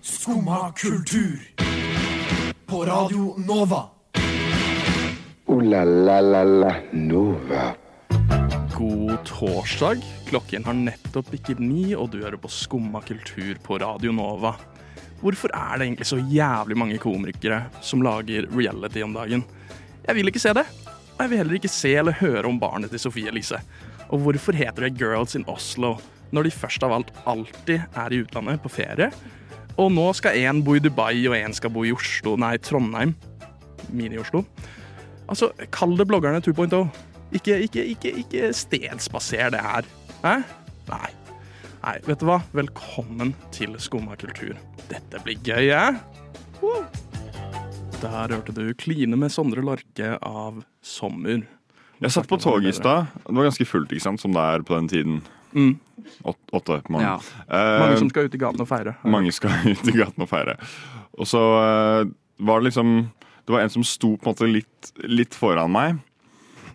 Skumma kultur. På Radio Nova. Ooh la la la la Nova. God torsdag. Klokken har nettopp bikket ni, og du hører på Skumma kultur på Radio Nova. Hvorfor er det egentlig så jævlig mange komikere som lager reality om dagen? Jeg vil ikke se det. Og jeg vil heller ikke se eller høre om barnet til Sofie Elise. Og hvorfor heter det Girls in Oslo når de først av alt alltid er i utlandet på ferie? Og nå skal én bo i Dubai, og én skal bo i Oslo, nei, Trondheim. Mini-Oslo. Altså, kall det bloggerne 2.0. Ikke, ikke, ikke, ikke stedspaser det her. Hæ? Nei. Nei, vet du hva? Velkommen til Skumma kultur. Dette blir gøy, hæ? Woo! Der hørte du 'Kline med Sondre Larke' av Sommer. Jeg satt på toget i stad. Det var ganske fullt, ikke sant, som det er på den tiden. Åt, åtte på Mm. Ja. morgenen. Mange Eh, som skal ut i gaten og feire. mange skal ut i gaten og feire. Og så eh, var det liksom Det var en som sto på en måte litt, litt foran meg.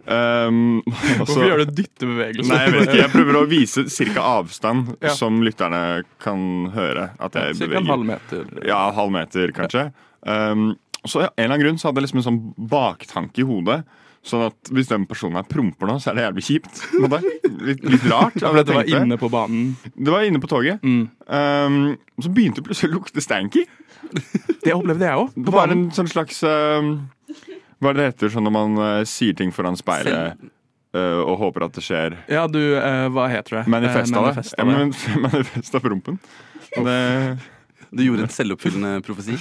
Um, Hvorfor gjør du dyttebevegelser? Nei, jeg vet ikke. Jeg prøver å vise cirka avstand Ja. som lytterne kan høre at jeg Cirka en beveger. halv meter. Ja, halv meter, kanskje. Um, så av en eller annen grunn så hadde jeg liksom en sånn baktanke i hodet. Sånn at hvis den personen her promper nå, så er det jævlig kjipt. på en måte. Litt, litt rart. Ja, av for det dette jeg var tenkte. inne på Mm. banen. det var inne på toget. Um, så begynte det plutselig å lukte stanky. Det opplevde jeg òg. Det var en sånn slags um, Hva er det det heter sånn når man eh, sier ting foran speilet eh, og håper at det skjer? Ja, du, eh, hva heter det? Manifest Eh, av det. manifest Ja, av det. men- Manifest av rumpen. Det, Du gjorde en selvoppfyllende profesi?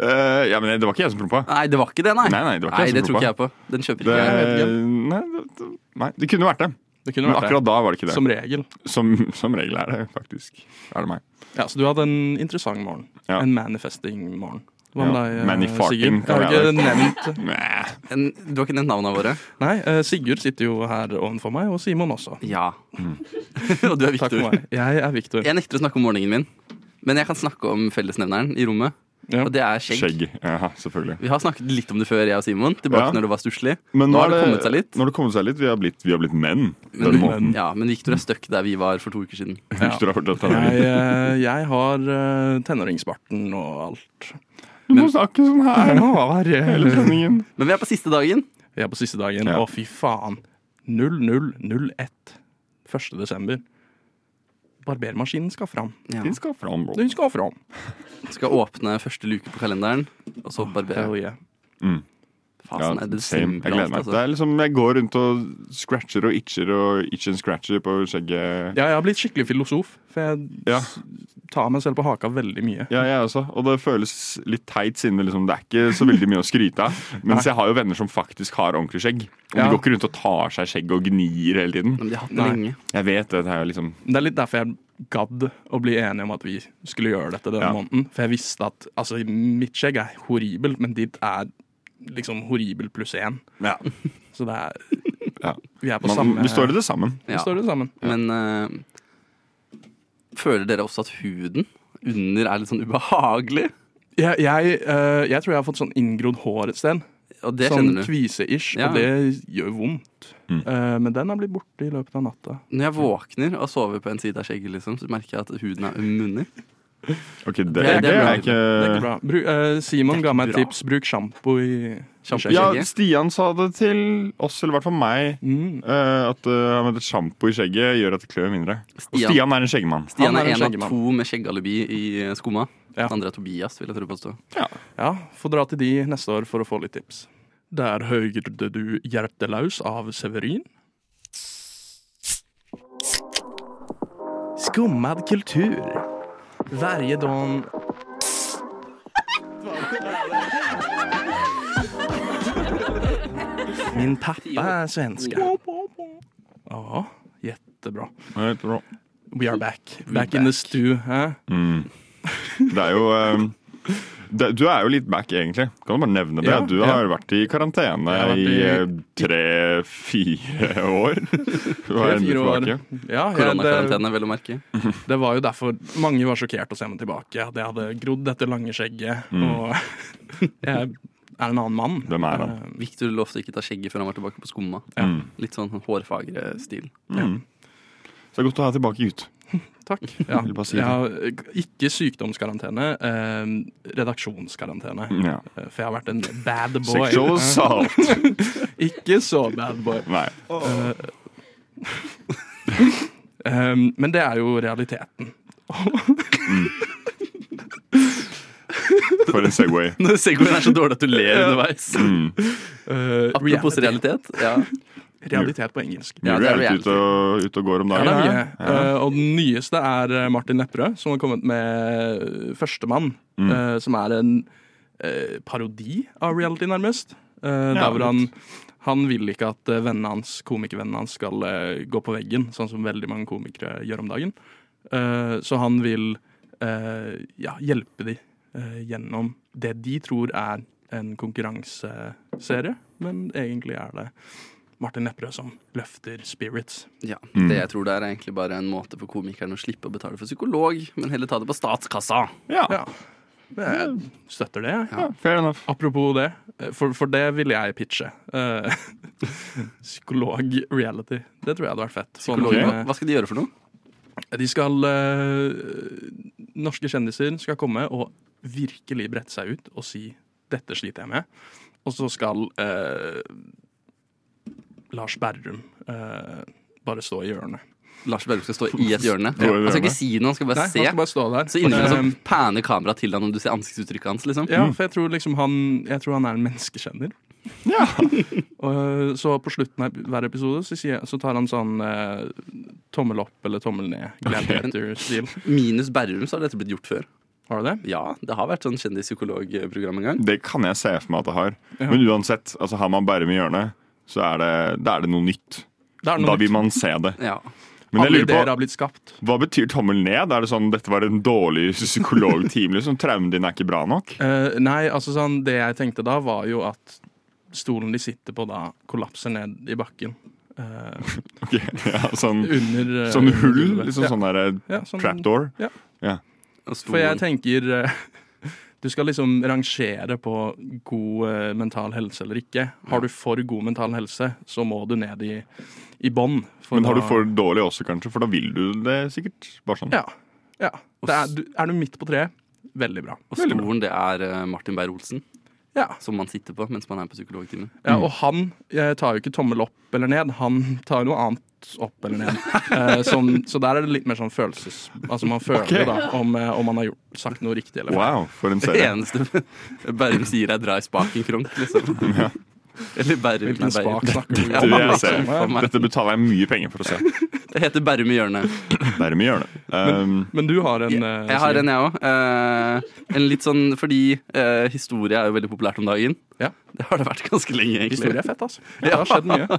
eh, ja, men det var ikke jeg som prompa. Nei, det var ikke det, nei. Nei, nei, det var ikke jeg som tror ropa. ikke jeg på. Den kjøper Det, ikke jeg. vet nei, det, det- nei, det kunne vært det. Det kunne Men vært akkurat da var det ikke det. det. Som regel. Som, som regel er det faktisk. Er det meg. Ja, Så du hadde en interessant morgen. Ja. En manifesting-morgen. Hva med Ja. deg, eh, Manifarking, Sigurd? Jeg kaller har jeg ikke nevnt Nei. En, du har ikke nevnt navnene våre? Nei, eh, Sigurd sitter jo her ovenfor meg, og Simon også. Ja. Mm. Og du er Takk for Victor. meg. Jeg er Victor. Jeg nekter å snakke om morgenen min, men jeg kan snakke om fellesnevneren i rommet. Ja. Og det er skjegg. Skjegg. Ja, selvfølgelig. Vi har snakket litt om det før, jeg og Simon. Tilbake Ja. når det var stusslig. Men nå har det kommet seg litt. Nå har det kommet seg litt. Vi har blitt, vi har blitt menn. Men, den måten. ja, men Victor er stuck der vi var for to uker siden. Ja. Victor har fortalt Jeg, henne. eh, jeg har eh, tenåringsbarten og alt. Du må snakke sånn her hele Jeg sendingen. Men vi er på siste dagen. er på siste dagen. Ja. Å, fy faen. 0001. 1. desember. Barbermaskinen skal fram. Ja. Den skal fram, bro. Den skal fram. Skal åpne første luke på kalenderen, og så barbere. Hell yeah. Ja, Fasen, sånn er det same. Jeg simpelt, gleder meg. Det altså. er liksom, jeg går rundt og scratcher og itcher og itch and scratcher på skjegget. Ja, jeg har blitt skikkelig filosof, for jeg Ja, tar meg selv på haka veldig mye. ja jeg også. Og det føles litt teit, siden det, liksom, det er ikke så veldig mye å skryte av. Mens jeg har jo venner som faktisk har ordentlig skjegg. Og Ja. De går ikke rundt og tar seg skjegg og gnir hele tiden. Men de har hatt det Nei. lenge. Jeg vet det. Det er jo liksom Det er litt derfor jeg gadd å bli enige om at vi skulle gjøre dette denne Ja. måneden. For jeg visste at altså, mitt skjegg er horribelt, men ditt er liksom horribelt pluss én. Ja. Så det er Ja. Vi er på Man, samme vi står i det sammen. vi Ja. står i det sammen. Men eh, føler dere også at huden under er litt sånn ubehagelig? Jeg, jeg, eh, jeg tror jeg har fått sånn inngrodd hår et sted. Og det sånn kjenner du. kvise-ish, Ja. og det gjør vondt. Mm. Eh, men den er blitt borte i løpet av natta. Når jeg våkner og sover på en side av skjegget, liksom, så merker jeg at huden er umunder. Ok, det, det er det er bra. Det er ikke ikke bra. Bru, eh, Simon ga meg et bra. tips. Bruk sjampo i i Shampoo skjegget. Ja, skjegget. Stian sa det til oss, eller i hvert fall meg, Mm. eh, at eh, han mente sjampo i skjegget gjør at det klør mindre. Og Stian. Stian er en skjeggmann. Stian Han er er en en av skjeggemann. to med skjeggalibi i eh, skumma. Ja. Den andre er Tobias, vil jeg tro påstå. Ja, få dra til de neste år for å få litt tips. Der hørte du 'Hjertelaus' av Severin. Skummad kultur. Varje dag Min pappa er svenska. Ja, jättebra. Ja, helt bra. We are back. Back in the stew. Hæ? Det er jo eh, det, Du er jo litt back, egentlig. Kan du bare nevne det? Ja, du ja. har vært i karantene Jeg har vært i i- tre-fire år. Du har endelig Tre-fire år. tilbake. Ja, ja, det- Koronakarantene, vel å merke. Det var jo derfor mange var sjokkert å se meg tilbake. At jeg hadde grodd dette lange skjegget. Og jeg er en annen mann. Mm. Hvem er han? Eh, Victor lovte ikke ta skjegget før han var tilbake på skumma. Litt sånn hårfagre stil. Så det er godt å ha deg tilbake ut. Takk. Ja. vil bare si det. Ja, eh, ikke sykdomskarantene, eh, redaksjonskarantene. Ja. Eh, For jeg har vært en bad boy. Eh, Sexual assault. Ikke så bad boy. Nei. Um, men det er jo realiteten. For en Segway. Mm. Når Segwayen er så dårlig at du ler underveis. Uh, Apropos reality. realitet. Ja. realitet på engelsk. Mye Ja, det er reality ute og, ute og går om Ja, det dagen. er mye. Eh, og den nyeste er eh, Martin Lepperød, som har kommet med Førstemann. eh, som er en eh, parodi av reality, nærmest. Eh, der hvor han, han vil ikke at eh, vennene hans, komikervennene hans skal eh, gå på veggen, sånn som veldig mange komikere gjør om dagen. Eh, så han vil eh, ja, hjelpe de eh, gjennom det de tror er en konkurranseserie, men egentlig er det Martin Lepperød som løfter spirits. Ja, Mm. Det jeg tror det er, er egentlig bare en måte for komikeren å slippe å betale for psykolog, men heller ta det på statskassa. Ja. Ja. Jeg støtter det, jeg. Ja, Fair enough. Mm. Apropos det, for, for det ville jeg pitche. Eh, Psykolog-reality. Det tror jeg hadde vært fett. Sånn, Psykolog, Ok. hva- Hva skal de gjøre for noe? eh, De skal eh, Norske kjendiser skal komme og virkelig brette seg ut og si 'dette sliter jeg med'. Og så skal eh, Lars Berrum eh, bare stå i hjørnet. Lars Berrum skal stå i et hjørne. i et Han skal hjørne. ikke si noe, han skal bare Nei, se. han skal bare stå der. Så innimellom Eh, så panner kameraet til han når du ser ansiktsuttrykket hans. liksom Mm. Ja, for jeg tror liksom han Jeg tror han er en menneskekjenner. Og, eh, så på slutten av hver episode så, sier, så tar han sånn eh, tommel opp eller tommel ned. Gladiator-stil. Minus Berrum, så har dette blitt gjort før. Har du det? Ja, det har vært sånn kjendispsykologprogram en gang. Det kan jeg se for meg at det har. Men uansett, altså, har man Bærum i hjørnet, så er det, da er det noe nytt. Det er Da noe vil nytt. man se det. Ja. Men jeg Alle lurer ideer på, har blitt skapt. hva betyr tommel ned? Er det sånn dette var en dårlig psykologtime? Liksom? Traumen din er ikke bra nok? Eh, nei, altså sånn Det jeg tenkte da, var jo at stolen de sitter på da, kollapser ned i bakken. Eh, Ok, ja, sånn, under eh, sånn hull? under gulvet. Liksom sånn der Ja, sånn- trapdoor? Ja. Ja. Og stolen- For jeg tenker eh, Du skal liksom rangere på god eh, mental helse eller ikke. Har du for god mental helse, så må du ned i, i bånn. for Men har du da- for dårlig også, kanskje? For da vil du det sikkert. Bare sånn. Ja. ja. Det er, du, er du midt på treet, veldig bra. og stolen, det er eh, Martin Beyer-Olsen, Ja. som man sitter på mens man er på psykologtimen. ja Mm. og han eh, tar jo ikke tommel opp eller ned, han tar noe annet opp eller ned. Eh, sånn, så der er det litt mer sånn følelses... Altså man føler Ok. da om, eh, om man har gjort, sagt noe riktig eller feil. Wow, for en Det serie. eneste Berrum sier, er 'dra i spaken, kronk'. Liksom. Eller Berrum Hvilken nei, Beyer. spak snakker du Du, om? jeg ser. for meg. Dette betaler jeg mye penger for å se. Det heter Berrum i hjørnet. Dermed gjør det. Um, Men du har en eh, Jeg har en, jeg òg. en litt sånn fordi eh, historie er jo veldig populært om dagen. Ja. Det har det vært ganske lenge, Historie egentlig. er fett, altså. Det har skjedd mye.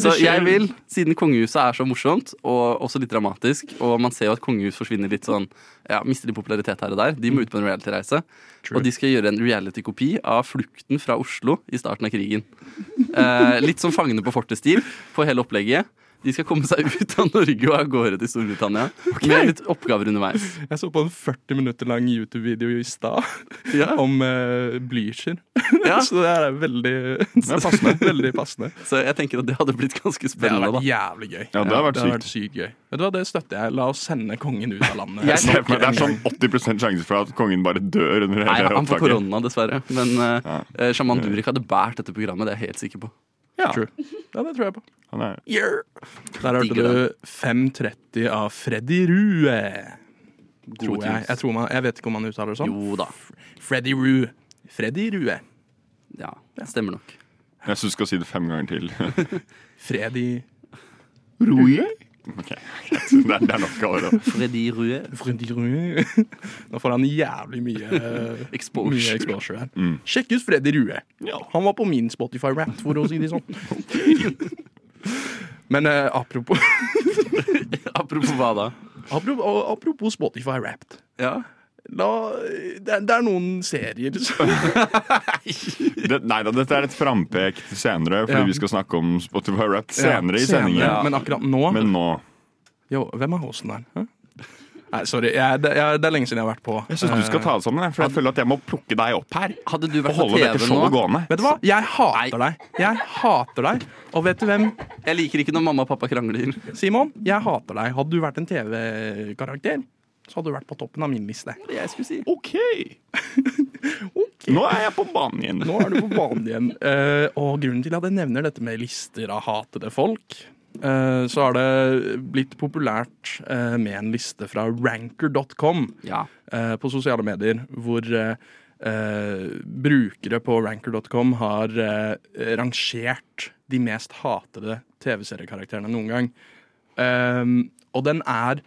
Så jeg vil, siden kongehuset er så morsomt, og også litt dramatisk, og man ser jo at kongehus forsvinner litt sånn, ja, mister litt popularitet her og der, de må ut på en reality-reise. True. Og de skal gjøre en reality-kopi av flukten fra Oslo i starten av krigen. Eh, litt som Fangene på fortet-stil på hele opplegget. De skal komme seg ut av Norge og av gårde til Storbritannia med litt oppgaver underveis. Jeg så på en 40 minutter lang YouTube-video i stad Ja. om eh, Blücher. Ja. så det her er veldig passende. veldig passende. Så jeg tenker at det hadde blitt ganske Det har spennende. da vært jævlig gøy. Ja, det har vært sykt. sykt gøy. Vet du hva, Det støtter jeg. La oss sende kongen ut av landet. Jeg- se for meg, det er sånn 80 sjanse for at kongen bare dør under Nei, hele han får opptaket. korona, dessverre. Men uh, Shaman Mm. Durek hadde båret dette programmet, det er jeg helt sikker på. Ja, True. Ja, det tror jeg på. han er Der hørte Digger du 5.30 av Freddy Rue. Tror jeg. tunes. Jeg, tror man, jeg vet ikke om han uttaler det sånn. Jo da. Freddy Rue. Freddy Rue. Ja, det stemmer nok. Jeg syns du skal si det fem ganger til. Freddy Roe? Ok, greit. det, er, det er nok allerede. Freddy Rue. Freddy Rue. Nå får han jævlig mye eh, Mye Exposure. exposure her. Sjekk ut Freddy Rue. Han var på min Spotify-rap, for å si det sånn. Men eh, apropos, Apropos hva da? apropos, apropos Spotify-rap Ja. det, er- det er noen serier som Det, nei da, dette er et frampek til senere, fordi Ja. vi skal snakke om Spotify Rap senere i sendingen. Men akkurat nå Men nå jo, Hvem er hosten der? Hæ? Nei, sorry. Jeg, det, jeg, det er lenge siden jeg har vært på. Jeg syns du skal ta det sammen, jeg, for jeg føler at jeg må plukke deg opp her. Hadde du Og vært på holde dette TV nå showet gående. Vet du hva? Jeg hater deg. Jeg hater deg. Og vet du hvem, Jeg liker ikke når mamma og pappa krangler. Simon? Jeg hater deg. Hadde du vært en TV-karakter, så hadde du vært på toppen av min liste. Jeg skulle si OK. Nå er jeg på banen igjen. Nå er du på banen igjen. Eh, og grunnen til at jeg nevner dette med lister av hatede folk, eh, så har det blitt populært eh, med en liste fra ranker.com Ja. eh, på sosiale medier, hvor eh, eh, brukere på ranker.com har eh, rangert de mest hatede TV-seriekarakterene noen gang. Eh, og den er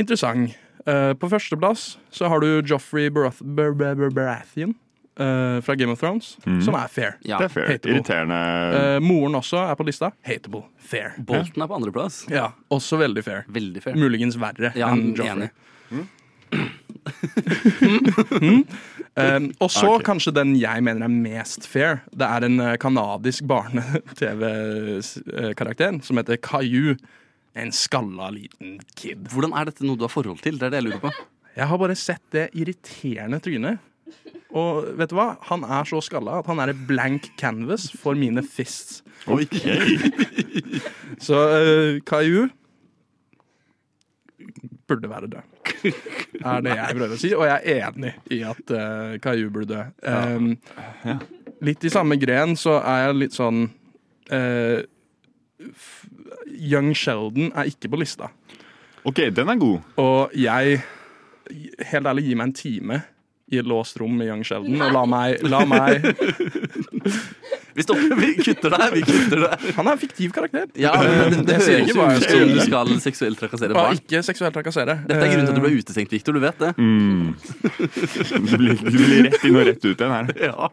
interessant. Eh, på førsteplass så har du Joffrey Barath Bar Bar Bar Baratheon eh, fra Game of Thrones, som er fair. Mhm. ja. Det er fair. Hateable. Irriterende. Eh, moren også er på lista. Hateable. Fair. Bolten er på andreplass. Ja, Også veldig fair. Veldig fair. Muligens verre Ja, enn enig. Joffrey. Eh, og så Ok. kanskje den jeg mener er mest fair. Det er en eh, kanadisk barne-TV-karakter eh, som heter Caillou. En skalla liten kid. Hvordan er dette noe du har forhold til? Det er det jeg lurer på. Jeg har bare sett det irriterende trynet. Og vet du hva? Han er så skalla at han er et blank canvas for mine fists. OK. Så uh, Caillou burde være død. Er det jeg prøver å si, og jeg er enig i at uh, Caillou burde dø. Um, litt i samme gren så er jeg litt sånn eh, f- Young Sheldon er ikke på lista. OK, den er god. Og jeg Helt ærlig, gi meg en time i et låst rom med Young Sheldon, og la meg, la meg Vi stopper, vi kutter deg. Vi kutter deg. Han er en fiktiv karakter. Ja, men det, det sier høres ikke jo hva ut jeg som sier. du skal seksuelt trakassere Og barn. ikke seksuelt trakassere. Dette er grunnen til at du ble utestengt, Victor. Du vet det. Mm. Du blir, du blir rett inn og rett ut igjen her. Ja.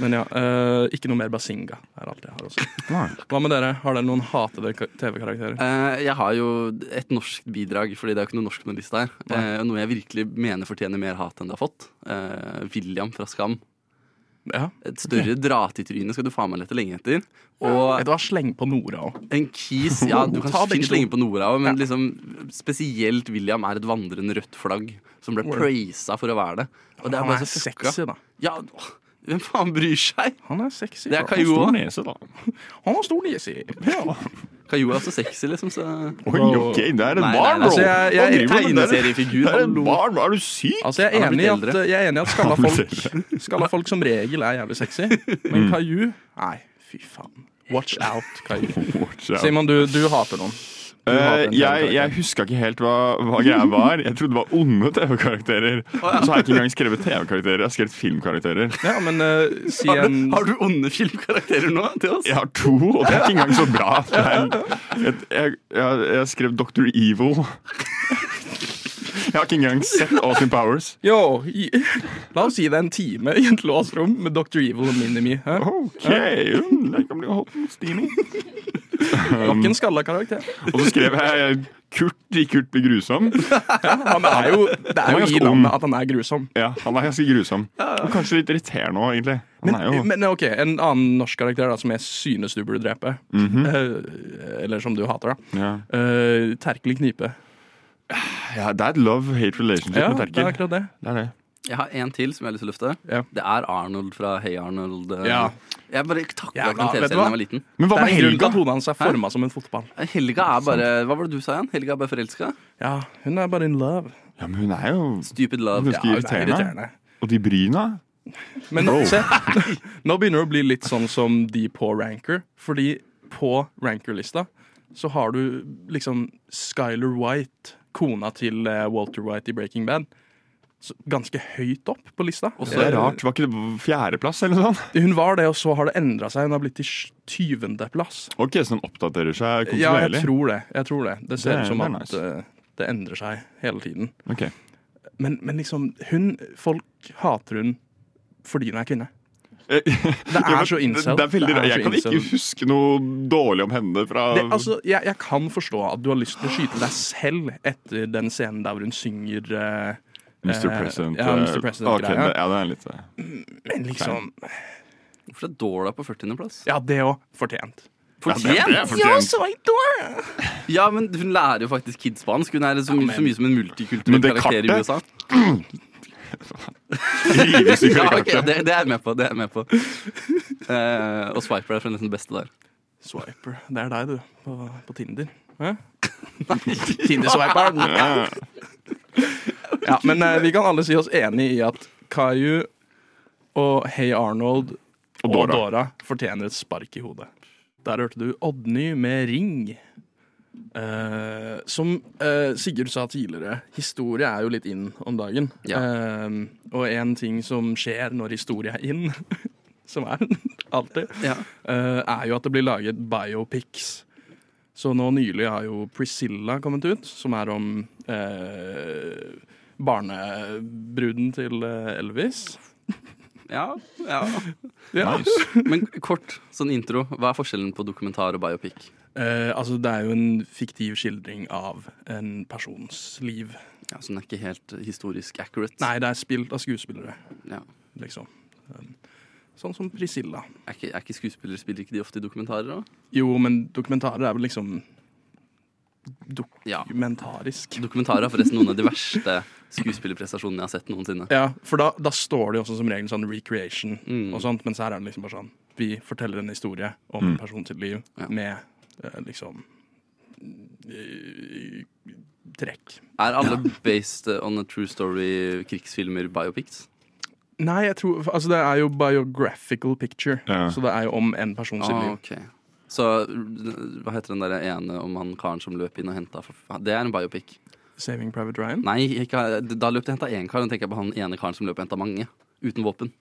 Men ja, eh, ikke noe mer Basinga er alt jeg har også. Nei. Hva med dere? Har dere noen hatede ka- TV-karakterer? Eh, jeg har jo et norsk bidrag, fordi det er jo ikke noe norsk på den lista her. Eh, noe jeg virkelig mener fortjener mer hat enn det har fått. Eh, William fra Skam. Ja. Et større drat i trynet skal du faen meg lete lenge etter. Og Vet du hva, sleng på Nora òg. en kis Ja, du kan Ta begge finne to. lenge på Nora òg, men liksom spesielt William er et vandrende rødt flagg som ble Word. praisa for å være det. Og det er Han bare er så fucka. sexy, da. Ja, åh, hvem faen bryr seg? Han er sexy. Det er bro. Caillou Stor òg. nese, da. Han har stor nese. Caillou er også sexy, liksom, så Oi, OK, det er en Nei, nei, barn, nei, bro. altså, jeg- jeg- Hva driver du med? Det er- tegneseriefigur, Det er en hallo. barn, bro. er du syk? Altså, jeg er, Han er enig i blitt at, eldre. jeg er enig i at skalla Han er blitt Mm. folk, skalla folk som regel er jævlig sexy, men Caillou Nei, fy faen. Watch out, Caillou. Watch out. Simon, du, du hater noen. Du hater Eh, en jeg, TV-karakter. jeg huska ikke helt hva, hva greia var. Jeg trodde det var onde TV-karakterer. Og så har jeg ikke engang skrevet TV-karakterer, jeg har skrevet filmkarakterer. Ja, men eh, si har du, en har du onde filmkarakterer nå til oss? Jeg har to, og det er ikke engang så bra. Det er en- et- Jeg, jeg, jeg skrev Dr. Evil. Jeg har ikke engang sett Austin Powers. Yo, i, la oss si det er en time i et låst rom med Dr. Evil og Minimi. hæ? Ok, mm, den kan bli hot and steamy. Nok Um, en skalla karakter. Og så skrev jeg Kurt i Kurt blir grusom. Han er jo, det er Han er jo i ganske landet ung. at han er grusom. Ja, Han er ganske grusom. Og kanskje litt irriterende òg, egentlig. Han er jo Men ok, En annen norsk karakter da som jeg synes du burde drepe, Eh, eller som du hater, da. Mhm. ja. Eh, Terkelig knipe. Ja, Det er et love-hate relationship Ja, med det er Terkel. akkurat det. Det er det. Jeg har en til som jeg har lyst til å løfte. Ja. Det er Arnold fra Hey Arnold. eh. Ja. Jeg bare takla Jævla, vet ikke den du TV-serien hva? da jeg var liten. Men hva Det er med en grunn til Helga? at hodet hans er forma som en fotball. Helga er bare Hva var det du sa igjen? Helga er bare forelska? Ja, Hun er bare in love. Ja, men hun er jo Stupid love. ganske Ja, hun er irriterende. irriterende. Og de bryna? Men Bro. se, nå begynner det å bli litt sånn som de på ranker. Fordi på ranker-lista så har du liksom Skyler White, kona til eh, Walter White i Breaking Bad, så ganske høyt opp på lista. Eh, Det er rart. Var ikke det på fjerdeplass eller noe sånt? Hun var det, og så har det endra seg. Hun har blitt til sj- 20. plass. Ok, Så den oppdaterer seg Ja, kontinuerlig? jeg tror det. Jeg tror det. det ser Det er- ut som det er at nice. eh, det endrer seg hele tiden. Ok. Men, men liksom, hun Folk hater hun fordi hun er kvinne. Eh, Det ja, men er så incel. Det er veldig Det er rart. så Jeg kan ikke incel. huske noe dårlig om henne fra det, altså, jeg, jeg kan forstå at du har lyst til å skyte deg selv etter den scenen der hvor hun synger eh, Mr. eh, President. ja, eh, Mr. President ok, det, greia. ja, det er litt eh, Men liksom Hvorfor er Dora på 40. plass? Ja, det òg. Fortjent. Fortjent? det er fortjent. Ja, men hun lærer jo faktisk kids spansk. Hun er så, my- så mye som en multikulturell Men det karakter i kartet- USA. Rives i Ja, ok, kartet. det, det er jeg med på. det er jeg med på Eh, Og Swiper er fra nesten det beste der. Swiper. Det er deg, du. På, på Tinder. Hæ? Tinder-swiper. Ja. Ja, men eh, vi kan alle si oss enig i at Caillou og Hey Arnold og Dora. Dora. fortjener et spark i hodet. Der hørte du Oddny med Ring. Eh, som eh, Sigurd sa tidligere, historie er jo litt inn om dagen. Ja. Eh, og en ting som skjer når historie er inn, som er den alltid, Ja. eh, er jo at det blir laget biopics. Så nå nylig har jo Priscilla kommet ut, som er om eh, barnebruden til eh, Elvis. Ja, ja. Ja. Nice. Men kort sånn intro. Hva er forskjellen på dokumentar og biopic? Eh, altså, det er jo en fiktiv skildring av en persons liv. Ja, så den er ikke helt historisk accurate. Nei, det er spilt av skuespillere, Ja. liksom. Um, Sånn som Priscilla. Er, ikke, er ikke skuespillere Spiller ikke de ofte i dokumentarer òg? Jo, men dokumentarer er vel liksom Ja. dokumentarisk. Dokumentarer er forresten noen av de verste skuespillerprestasjonene jeg har sett noensinne. Ja, for da, da står det jo også som regel sånn recreation Mm. og sånt, mens her er det liksom bare sånn Vi forteller en historie om en person sitt liv Ja. med eh, liksom eh, trekk. Er alle based on a true story krigsfilmer biopics? Nei, jeg tror Altså, det er jo biographical picture, Ja. så det er jo om en person sitt Ah, liv. ok. Så hva heter den der ene om han karen som løp inn og henta Det er en biopic. Saving Private Ryan. Nei, ikke, da løp de og henta én kar. Nå tenker jeg på han ene karen som løp og henta mange. Uten våpen.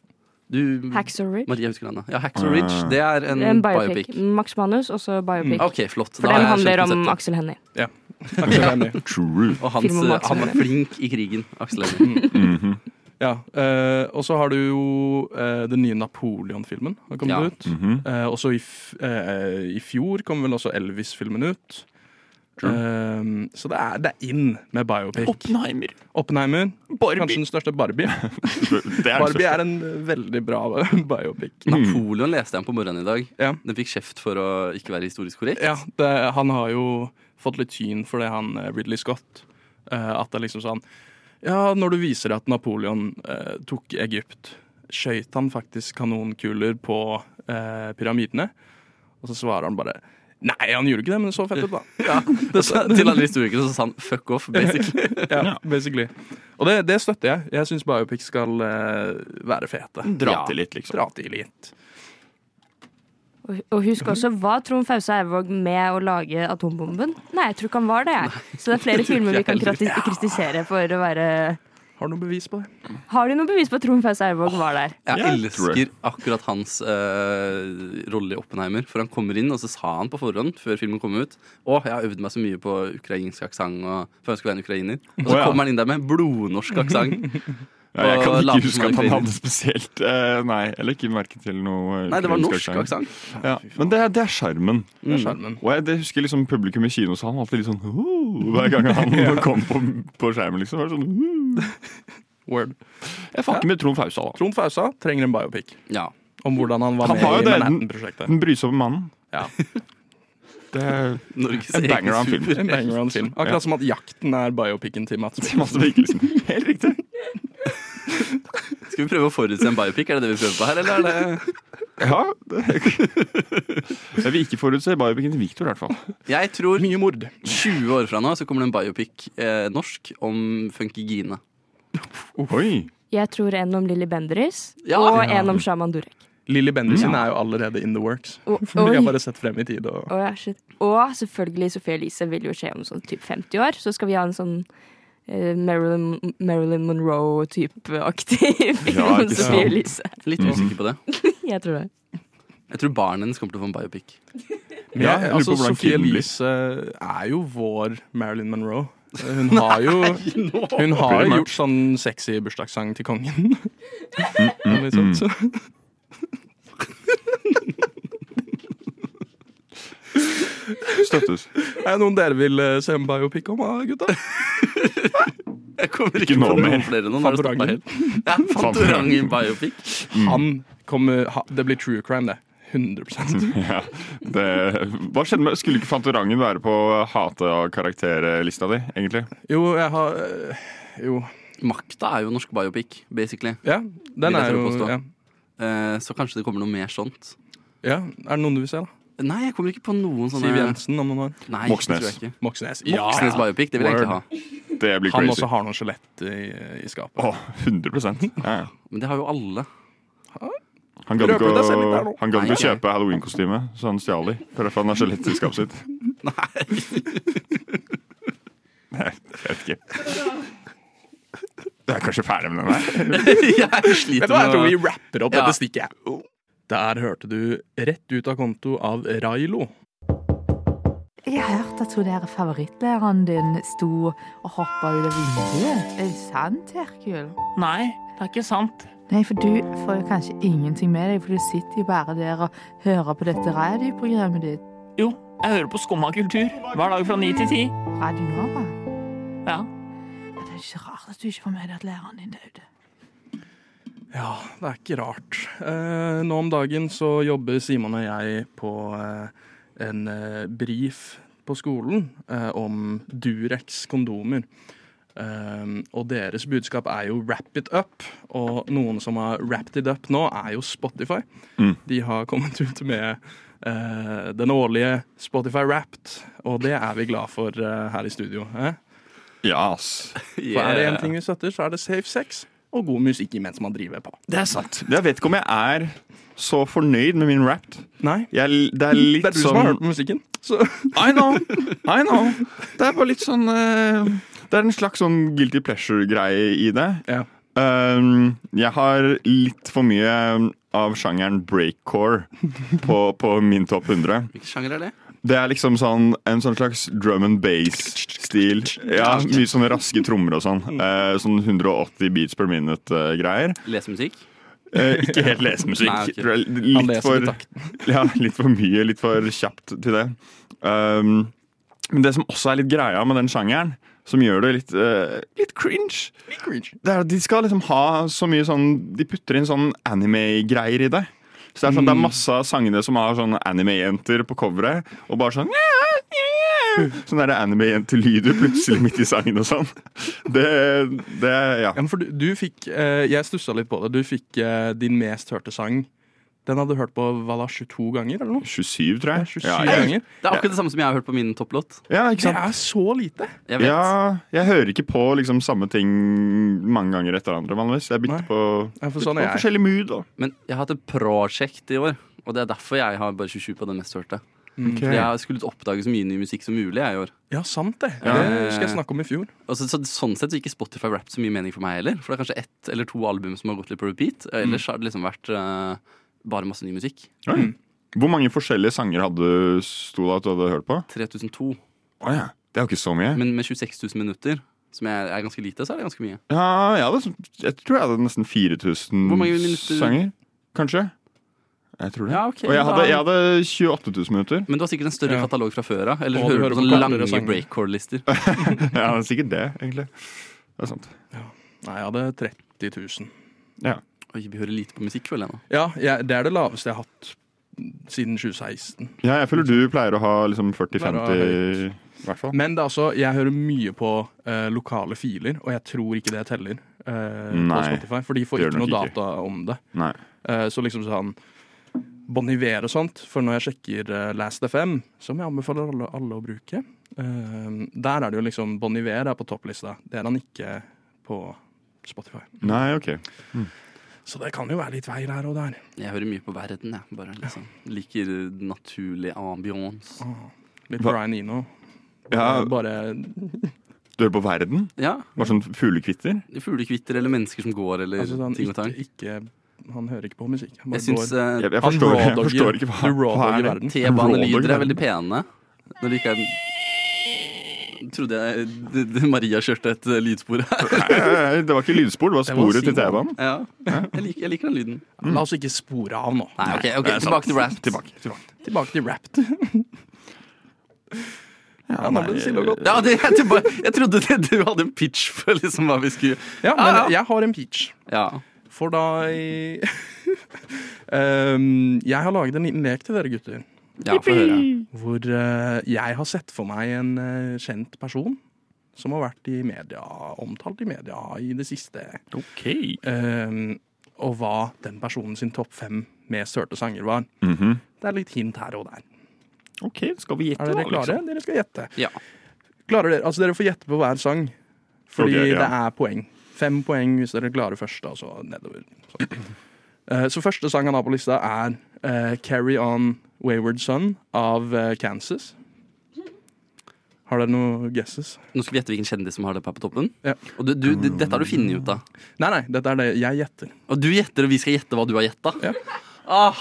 Du, Hacksaw Ridge. Maria husker han, da. Ja, Hacksaw Ridge. Det er en, En biopic. Mm. biopic. Max Manus, og så biopic. Ok, flott. For Da den har jeg handler skjønt om konseptet. Aksel Hennie. Aksel Hennie. True. Og hans, Film om Aksel han var Hennie. flink i krigen, Aksel Hennie. Ja. eh, og så har du jo eh, den nye Napoleon-filmen har kommet Ja. ut. Eh, også i, f eh, i fjor kom vel også Elvis-filmen ut. Eh, så det er, det er inn med biopic. Oppenheimer. Oppenheimer, kanskje den største Barbie. Det er Barbie er en eh, veldig bra biopic. Napoleon leste jeg om på morgenen i dag. Ja. Den fikk kjeft for å ikke være historisk korrekt. Ja, det, han har jo fått litt tyn for det, han eh, Ridley Scott. Eh, at det er liksom sånn Ja, når du viser at Napoleon eh, tok Egypt, skøyt han faktisk kanonkuler på eh, pyramidene? Og så svarer han bare Nei, han gjorde ikke det, men det så fett ut, da. Ja, det, altså, Til alle historikere så sa han fuck off, basically. ja, basically. Og det, det støtter jeg. Jeg syns biopics skal eh, være fete. Dra til litt, liksom. Dra til litt. Og, og husk også, var Trond Fause Ervåg med å lage atombomben? Nei, jeg tror ikke han var det. jeg Så det er flere filmer vi kan krati- kritisere for å være Har du noe bevis på det? Har du noe bevis på at Trond Fause Ervåg var der? Jeg Ja, jeg tror elsker akkurat hans eh, rolle i Oppenheimer. For han kommer inn, og så sa han på forhånd før filmen kom ut Å, jeg har øvd meg så mye på ukrainsk aksent før jeg skulle være en ukrainer. Og så Å, ja. kommer han inn der med blodnorsk aksent. Ja, jeg Og kan late ikke som huske at han han er hadde spesielt eh, Nei, eller ikke merke til noe eh, Nei, det var ukrainsk norsk aksent. Ja. Men det er, det er skjermen. Det er skjermen. Og jeg det husker liksom publikum i kinosalen alltid litt sånn «Hoo!» Hver gang han kom på, på skjermen, liksom. Var det sånn, «Hoo!» Word. jeg fucker med Trond Fausa, da. Trond Fausa trenger en biopic. Ja. Om hvordan han var Han med har jo i det, Mm. den- Manhattan-prosjektet. Den brysomme mannen. Ja. Det er Norges En egen banger av en film. super- En banger av en film. Akkurat Ja. som at Jakten er biopicen til Mats. Mads Mikkelsen. Helt riktig. Skal vi prøve å forutse en biopic? Er det det vi prøver på her, eller er det Ja. Det. Jeg vil ikke forutse biopicen til Victor, i hvert fall. Jeg tror Mye mord. 20 år fra nå så kommer det en biopic eh, norsk om Funkygine. Oi. Jeg tror en om Lilly Bendriss Ja. og Ja. en om Shaman Durek. Lilly Bendrissen er jo allerede in the works. Og, Vi oi, har bare sett frem i tid. Og... Å, ja, shit. Og selvfølgelig Sophie Elise vil jo skje om sånn typ 50 år. Så skal vi ha en sånn eh, Marilyn, Marilyn Monroe-type-aktig film Ja, om ikke Sophie sant. Elise. Litt Mhm. usikker på det. Jeg tror det. Jeg tror barnet hennes kommer til å få en biopic. Ja, jeg lurer altså, på hvordan Sophie kiden blir. Elise er jo vår Marilyn Monroe. Eh, Hun har jo Hun har Pretty much. gjort sånn sexy bursdagssang til kongen. Eller Mm, sånt, så. Støttes. Er det noen dere vil eh, se en biopic om, da, gutta? Jeg kommer Ikke ikke nå på noen mer. flere nå. nå har det Fantorangen. stoppet Mm. helt. Ja, Fantorangen biopic. Han kommer ha, Det blir true crime, det. 100 Ja, det, hva skjedde med, Skulle ikke Fantorangen være på hate-karakterlista di, egentlig? Jo, jeg har øh, Jo. Makta er jo norsk biopic, basically. Ja, den jeg er tro jo påstå. ja. Eh, så kanskje det kommer noe mer sånt. ja. Er det noen du vil se, da? Nei, jeg kommer ikke på noen sånne Siv Jensen om noen år? Nei, Moxnes. Det tror jeg ikke. Moxnes. Moxnes biopic, det vil jeg Word. ikke ha. Det blir Han crazy. også har noen skjelett i, i skapet. Å, 100 ja. ja. Men det har jo alle. Han gadd ikke Røper deg selv litt der å, nå. han gadd ikke å Nei, nei. kjøpe Halloween-kostyme, så han stjal de. For derfor han har skjelettselskapet sitt. Nei. Jeg vet ikke. Du er kanskje ferdig med den her? jeg Vet sliter du hva, jeg med tror å vi rapper opp Ja. dette stikket. jeg. Der hørte du Rett ut av konto av Railo. Jeg har hørt at hun der favorittlæreren din sto og hoppa ut av vinduet. Er det sant, Herkul? Nei, det er ikke sant. Nei, for du får jo kanskje ingenting med deg, for du sitter jo bare der og hører på dette radioprogrammet ditt. Jo, jeg hører på Skumma kultur hver dag fra ni til ti. Radio Nova. Ja. Ja, Det er ikke rart at du ikke får med deg at læreren din døde. Ja, det er ikke rart. Eh, nå om dagen så jobber Simon og jeg på eh, en eh, brief på skolen eh, om Durex kondomer. Eh, og deres budskap er jo 'wrap it up', og noen som har wrapped it up nå, er jo Spotify. De har kommet ut med eh, den årlige Spotify Wrapped, og det er vi glad for eh, her i studio. Eh? Ja, ass. For er det én ting vi støtter, så er det safe sex og god musikk imens man driver på. Det er sant. Jeg vet ikke om jeg er så fornøyd med min rap. Nei? Jeg, det er litt Det er du som sånn har hørt på musikken. Så. I know. I know. Det er bare litt sånn eh, Det er en slags sånn guilty pleasure-greie i det. Ja. Um, jeg har litt for mye um, av sjangeren breakcore på, på min topp 100. Hvilken sjanger er det? Det er liksom sånn, en sånn slags drum and bass-stil. Ja, Mye sånne raske trommer og sånn. Eh, sånn 180 beats per eh, minute-greier. Lesemusikk? Eh, ikke helt Nei, ok. lesemusikk. Tror jeg Han Litt leser for til takten. ja, litt for mye, litt for kjapt til det. Um, men det som også er litt greia med den sjangeren, som gjør det litt, eh, litt cringe, det er at de skal liksom ha så mye sånn De putter inn sånn anime-greier i det. Så det er, sånn, det er masse av sangene som har sånn anime-jenter på coveret, og bare sånn Sånn der anime-jentelyder plutselig midt i sangen og sånn. Det, det Ja. Ja, men for du, du fikk eh, Jeg stussa litt på det. Du fikk eh, din mest hørte sang. Den hadde du hørt på hva da, 22 ganger, eller noe? 27, tror jeg. 27 Ja, jeg, ganger. Det er akkurat det samme som jeg har hørt på min topplåt. ja, ikke Det sant? er så lite! Jeg vet. Ja, jeg hører ikke på liksom samme ting mange ganger etter hverandre. vanligvis. Jeg bytter Nei. på, Ja, for bytter sånn på er jeg. forskjellig mood. Og. Men jeg har hatt et prosjekt i år, og det er derfor jeg har bare 27 på den mest hørte. For Jeg har skulle oppdage så mye ny musikk som mulig jeg i år. Ja, sant det. Ja. Det skal jeg snakke om i fjor. Og så, så, sånn sett så gir ikke Spotify Rap så mye mening for meg heller. For det er kanskje ett eller to album som har gått litt på repeat. og Mm. Ellers har det liksom vært eh, bare masse ny musikk. Oi. Hvor mange forskjellige sanger hadde du sto det at du hadde hørt på? 3002. Å ja, Det er jo ikke så mye. Men med 26 000 minutter, som er, er ganske lite, så er det ganske mye. Ja, jeg, hadde, jeg tror jeg hadde nesten 4000 Hvor mange minutter- sanger. Kanskje. Jeg tror det. Ja, ok, og jeg da- hadde, jeg hadde 28 000 minutter. Men du har sikkert en større Ja. katalog fra før av. Og Eller sånn. du hører hører på på sånne gamlere lange sanger. breakcore-lister. ja, det er sikkert det, egentlig. Det er sant. Nei, jeg hadde 30 000. Ja. Oi, vi hører lite på musikk, føler jeg nå. Ja, jeg, det er det laveste jeg har hatt siden 2016. ja, jeg føler du pleier å ha liksom Bare 40-50 høyt. i hvert fall. Men det er altså, jeg hører mye på eh, lokale filer, og jeg tror ikke det teller eh, på Nei, Spotify. For de får det gjør ikke noe det nok ikke. data om det. Nei. Eh, Så liksom sånn Bon Iver og sånt, for når jeg sjekker eh, Last FM, som jeg anbefaler alle, alle å bruke, eh, der er det jo liksom Bon Iver er på topplista. Det er han ikke på Spotify. Nei, ok. Så det kan jo være litt vei der og der. Jeg hører mye på verden, jeg. Bare liksom liker naturlig ambiance. Litt Hva- Brian Eno. Ja, Bare du hører på Verden? Ja. Bare sånn fuglekvitter? Fuglekvitter eller mennesker som går, eller altså, sånn, ting og ikke, tang. ikke Han hører ikke på musikk. Han bare Jeg syns går. eh, Jeg, jeg, Han forstår, jeg rådogger. forstår ikke hva, Du hva rådogger er det? verden. T-banelyder Rådogger. er veldig pene. Når det ikke er Trodde jeg d- d- Maria kjørte et eh, lydspor her. Nei, Det var ikke lydspor, det var var sporet til Simon. TV-en. Ja. Jeg liker, jeg liker den lyden. La oss ikke spore av nå. Nei, ok, ok, Tilbake til rap. Tilbake til Wrapped. Ja, nå ble det stille og godt. Ja, det, jeg, tilbake, jeg trodde det, du hadde en pitch for liksom hva vi skulle Ja, Ja, men ja. jeg har en peach. Ja. For da i Ehm, jeg har laget en liten lek til dere gutter. Ja, få høre. Hvor eh, jeg har sett for meg en eh, kjent person som har vært i media, omtalt i media i det siste. Ok. Ehm, og hva den personen sin topp fem mest hørte sanger var. Mhm. Det er litt hint her og der. Ok, skal vi Er gjette, dere da? klare? Liksom? Dere skal gjette. Ja. Klarer dere, altså dere får gjette på hver sang, fordi Ok, ja. det er poeng. Fem poeng hvis dere klarer første, og så nedover. Sånn. Eh, Så første sang han har på lista, er eh, 'Carry On Wayward Son' av eh, Kansas. Har dere noen guesses? Nå skal vi gjette hvilken kjendis som har det på toppen. Ja. Og du, du, det- dette har du funnet ut av. Nei, nei, dette er det jeg gjetter. Og du gjetter, og vi skal gjette hva du har gjetta. Ja. Ah,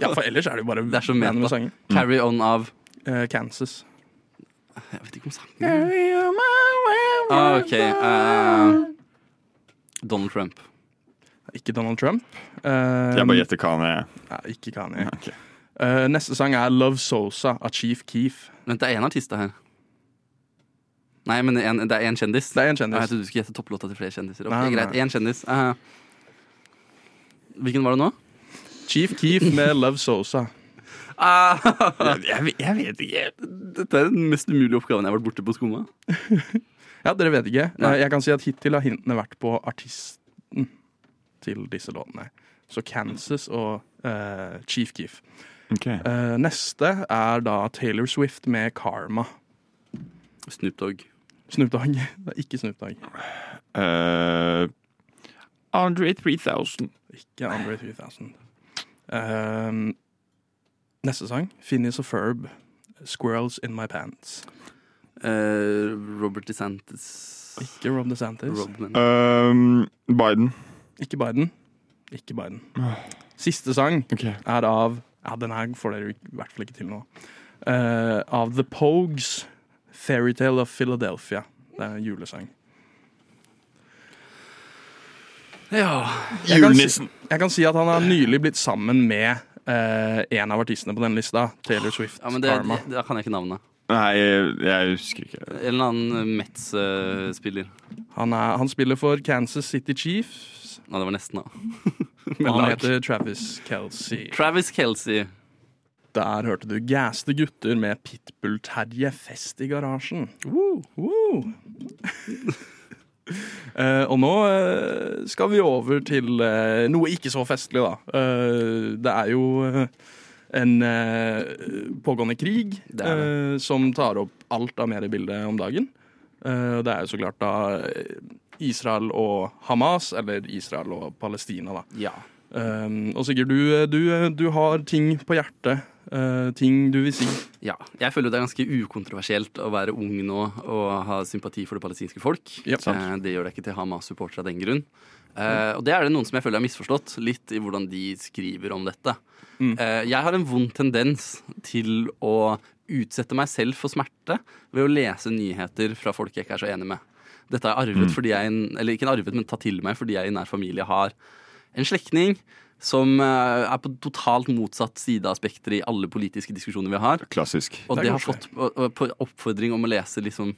Ja, For ellers er det jo bare det er så meta. random sanger. Carry on av Eh, Kansas. Jeg vet ikke om sangen ah, OK. eh, Donald Trump. eh, Ikke Donald Trump. Jeg bare Uh, gjetter Kanye. ja, ikke Kanye. Eh, neste sang er 'Love Sosa' av Chief Keef. Vent, det er én artist, det her. Nei, men en, det er én kjendis. Det er en kjendis. Ah, Jeg trodde du skulle gjette topplåta til flere kjendiser. Ok, Nei, nei. greit, én kjendis Eh, Hvilken var det nå? Chief Keef med 'Love Sosa'. Ah, Jeg, jeg vet ikke. dette er den mest umulige oppgaven jeg har vært borte på skumma. Ja, dere vet ikke. Nei. Eh, Jeg kan si at hittil har hintene vært på artisten til disse låtene. Så Kansas og eh, Chief Keef. Ok. Eh, neste er da Taylor Swift med 'Karma'. Snoop Dogg. Snoop Dogg. Det er ikke Snoop Dogg. Eh, Andre 3000. Ikke Andre 3000. Eh, neste sang, Phineas og Ferb, 'Squirrels In My Pants'. Eh, Robert DeSantis. Ikke Rob DeSantis. Rodman. Um, Biden. Ikke Biden. Ikke Biden. Siste sang er av Ja, den her får dere i hvert fall ikke til nå. Eh, av The Pogues, 'Fairytale of Philadelphia'. Det er en julesang. Ja. Jeg kan si- Julenissen. Jeg kan si at han har nylig blitt sammen med eh, en av artistene på denne lista. Taylor Swift. ja, men det, Karma. det, da kan jeg ikke navnet. Nei, jeg, jeg husker ikke. En eller annen eh, Metz-spiller. Han, er, han spiller for Kansas City Chiefs. Nei, det var nesten, da. Og Med han lag. heter Travis Kelsey. Travis Kelsey. Der hørte du gaste gutter med Pitbull-Terje fest i garasjen. Woo. Eh, og nå eh, skal vi over til eh, noe ikke så festlig, da. Eh, det er jo eh, en eh, pågående krig Det er det. eh, som tar opp alt av mediebildet om dagen. Eh, og det er jo så klart da eh, Israel og Hamas, eller Israel og Palestina, da. Ja. Um, og Sigurd, du, du, du har ting på hjertet. eh, ting du vil si. ja. Jeg føler jo det er ganske ukontroversielt å være ung nå og ha sympati for det palestinske folk. Ja, sant. Eh, det gjør deg ikke til Hamas-supporter av den grunn. Eh, og det er det noen som jeg føler har misforstått litt i hvordan de skriver om dette. Mm. Eh, jeg har en vond tendens til å utsette meg selv for smerte ved å lese nyheter fra folk jeg ikke er så enig med. Dette har jeg arvet Mm. fordi jeg, eller ikke arvet, men tatt til meg fordi jeg i nær familie har en slektning som eh, er på totalt motsatt side av spekteret i alle politiske diskusjoner vi har. Klassisk. Og Det er det har fått koselig. og- og på oppfordring om å lese liksom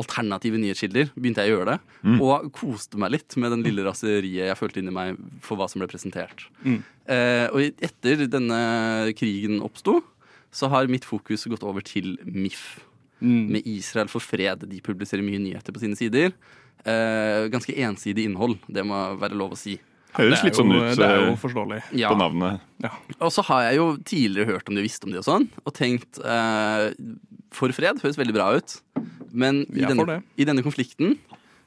alternative nyhetskilder. Begynte jeg å gjøre det. Og koste meg litt med den lille raseriet jeg følte inni meg for hva som ble presentert. Mm. Eh, og i- etter denne krigen oppsto, så har mitt fokus gått over til MIF. Mm. Med Israel for fred. De publiserer mye nyheter på sine sider. Eh, ganske ensidig innhold, det må være lov å si. Høres Det er litt sånn jo- ut Det er jo eh, forståelig. Ja. på navnet. Og så har jeg jo tidligere hørt om det og visst om det og sånn, og tenkt eh, For fred høres veldig bra ut, men i Vi er for det. denne, i denne konflikten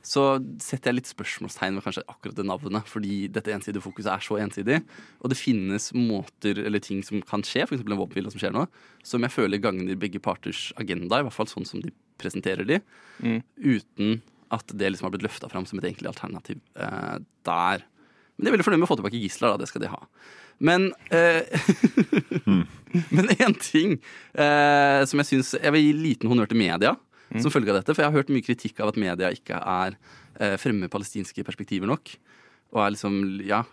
så setter jeg litt spørsmålstegn ved kanskje akkurat det navnet, fordi dette ensidige fokuset er så ensidig. Og det finnes måter eller ting som kan skje, f.eks. en våpenhvile som skjer nå, som jeg føler gagner begge parters agenda, i hvert fall sånn som de presenterer de, Mm. uten at det liksom har blitt løfta fram som et egentlig alternativ eh, der. Men de er veldig fornøyd med å få tilbake gisler, da. Det skal de ha. Men eh, Men én ting eh, som jeg syns Jeg vil gi liten honnør til media som følge av dette. For jeg har hørt mye kritikk av at media ikke er eh, fremme palestinske perspektiver nok. Og er liksom, ja,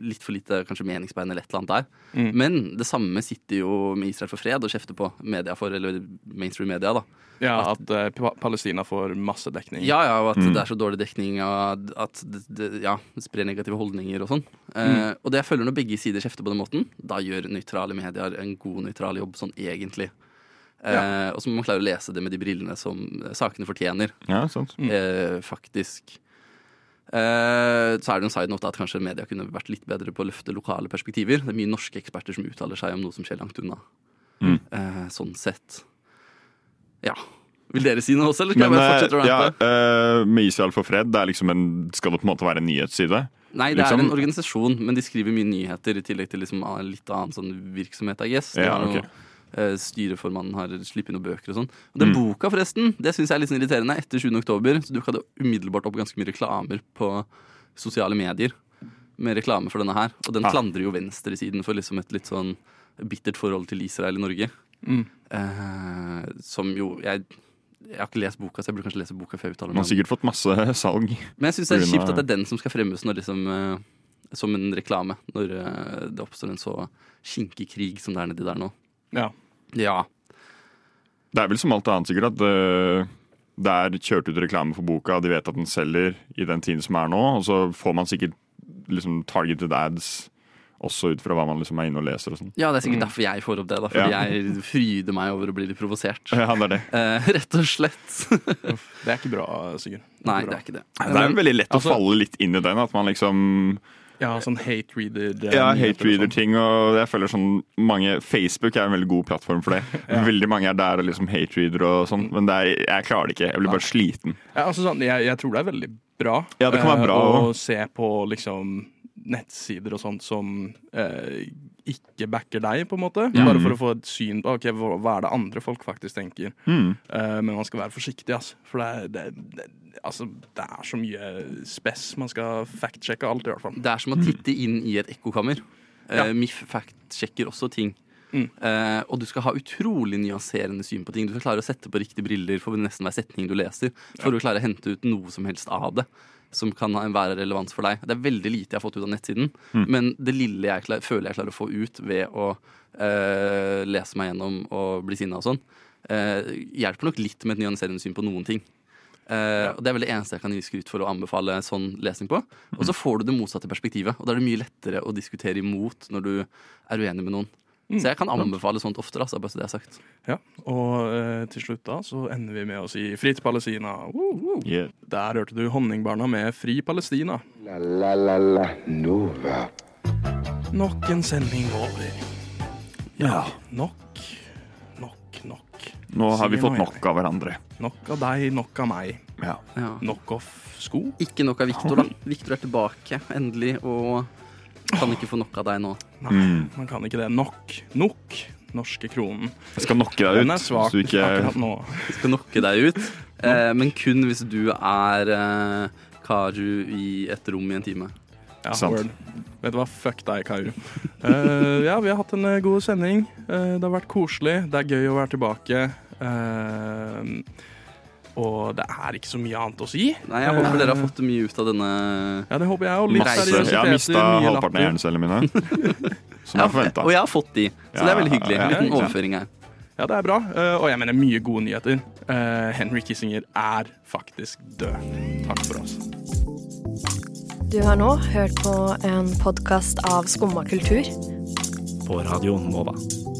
litt for lite kanskje meningsbærende eller et eller annet der. Mm. Men det samme sitter jo med Israel for fred og kjefter på media for, eller mainstream media, da. Ja, At eh, Pa- Palestina får masse dekning. Ja, ja, og at Mm. det er så dårlig dekning og at det, det ja, sprer negative holdninger og sånn. Eh, Mm. og det jeg føler når begge sider kjefter på den måten, da gjør nøytrale medier en god nøytral jobb sånn egentlig. Eh, Og så må man klare å lese det med de brillene som eh, sakene fortjener, Ja, sant. eh, faktisk. Eh, så er det en side note at kanskje media kunne vært litt bedre på å løfte lokale perspektiver. Det er mye norske eksperter som uttaler seg om noe som skjer langt unna. Mm. Eh, sånn sett. Ja. Vil dere si noe også, eller skal Men jeg bare fortsette å eh, ja, rante? eh, med Israel for fred, det er liksom en, skal det på en måte være en nyhetsside? Nei, det Liksom- er en organisasjon, men de skriver mye nyheter i tillegg til liksom annen- litt annen sånn virksomhet, I guess. Det Ja, er noe, ok. eh, Styreformannen har sluppet noen bøker og sånn. Og Mm. den boka, forresten, det syns jeg er litt sånn irriterende. Etter 7. oktober så dukka det umiddelbart opp ganske mye reklamer på sosiale medier med reklame for denne her. Og den Ah. klandrer jo venstresiden for liksom et litt sånn bittert forhold til Israel i Norge. Mm. Eh, som jo jeg, jeg har ikke lest boka, så jeg burde kanskje lese boka før jeg uttaler Man meg. har sikkert fått masse salg. Men jeg syns det er Pga. kjipt at det er den som skal fremmes når liksom, eh, som en reklame. Når eh, det oppstår en så skinkig krig som det er nedi der nå. Ja. Ja. Det er vel som alt annet sikkert at eh, det er kjørt ut reklame for boka, de vet at den selger i den tiden som er nå, og så får man sikkert liksom targeted ads også ut fra hva man liksom er inne og leser og sånn. ja, det er Mm. sikkert derfor jeg får opp det. Da, fordi Ja. jeg fryder meg over å bli litt provosert. Ja, det er det. Eh, rett og slett. Det er ikke bra, Sigurd. Nei, det er ikke det. Det er veldig lett Altså- å falle litt inn i den, at man liksom Ja, sånn hate reader. eh, Ja, nyheter hate og sånn. reader-ting, og jeg føler sånn mange Facebook er en veldig god plattform for det. Veldig mange er der og liksom hate reader og sånn, men det er, jeg klarer det ikke. Jeg blir bare sliten. Ja, altså sånn, jeg, jeg tror det er veldig bra Ja, det kan være eh, bra å se på liksom nettsider og sånt som eh, ikke backer deg, på en måte. Bare Mm. for å få et syn på ok, hva, hva er det andre folk faktisk tenker. Mm. Eh, men man skal være forsiktig, altså. For det er, det, det, altså, det er så mye spess. Man skal fact-sjekke alt, i hvert fall. Det er som å titte inn i et ekkokammer. Eh, Ja. MIF fact-sjekker også ting. Eh, og du skal ha utrolig nyanserende syn på ting. Du skal klare å sette på riktige briller for nesten hver setning du leser. For å klare å hente ut noe som helst av det som kan ha- være relevans for deg. Det er veldig lite jeg har fått ut av nettsiden, men det lille jeg klar, føler jeg klarer å få ut ved å eh, lese meg gjennom og bli sinna og sånn, eh, hjelper nok litt med et nyanserende syn på noen ting. Eh, og Det er vel det eneste jeg kan gi skryt for å anbefale sånn lesning på. Og så får du det motsatte perspektivet, og da er det mye lettere å diskutere imot når du er uenig med noen. Mm. Så jeg kan anbefale sånt oftere, altså, bare så det er sagt. Ja, Og eh, til slutt da så ender vi med å si fritt Palestina. Woo, woo. Yeah. Der hørte du Honningbarna med Fri Palestina. La la la la Nova. Nok en sending over. Ja, nok. Nok, nok. Nå har vi Sier fått noe, nok av hverandre. Nok av deg, nok av meg. Ja. Ja. Nok av sko. Ikke nok av Viktor, da. Viktor er tilbake, endelig, og kan ikke få nok av deg nå. Nei, Mm. man kan ikke det. Nok. Nok. Norske kronen. Jeg skal nokke deg ut. Den er svak så du ikke... akkurat nå. Jeg skal nokke deg ut, eh, men kun hvis du er eh, Karu i et rom i en time. Ja, Sant. word. Vet du hva? Fuck deg, Karu. Eh, ja, vi har hatt en eh, god sending. Eh, det har vært koselig. Det er gøy å være tilbake. Eh, og det er ikke så mye annet å si. Nei, Jeg håper dere har fått mye ut av denne Ja, det håper jeg. Og litt Masse. seriøsitet, Jeg har mista mye halvparten av latter. hjernecellene mine. Som jeg forventa. Og jeg har fått de, så det er veldig hyggelig. Ja, En ja, liten ja. overføring her. Ja, det er bra. Eh, og jeg mener mye gode nyheter. Eh, Henry Kissinger er faktisk død. Takk for oss. Du har nå hørt på en podkast av Skumma kultur. På Radio Nova.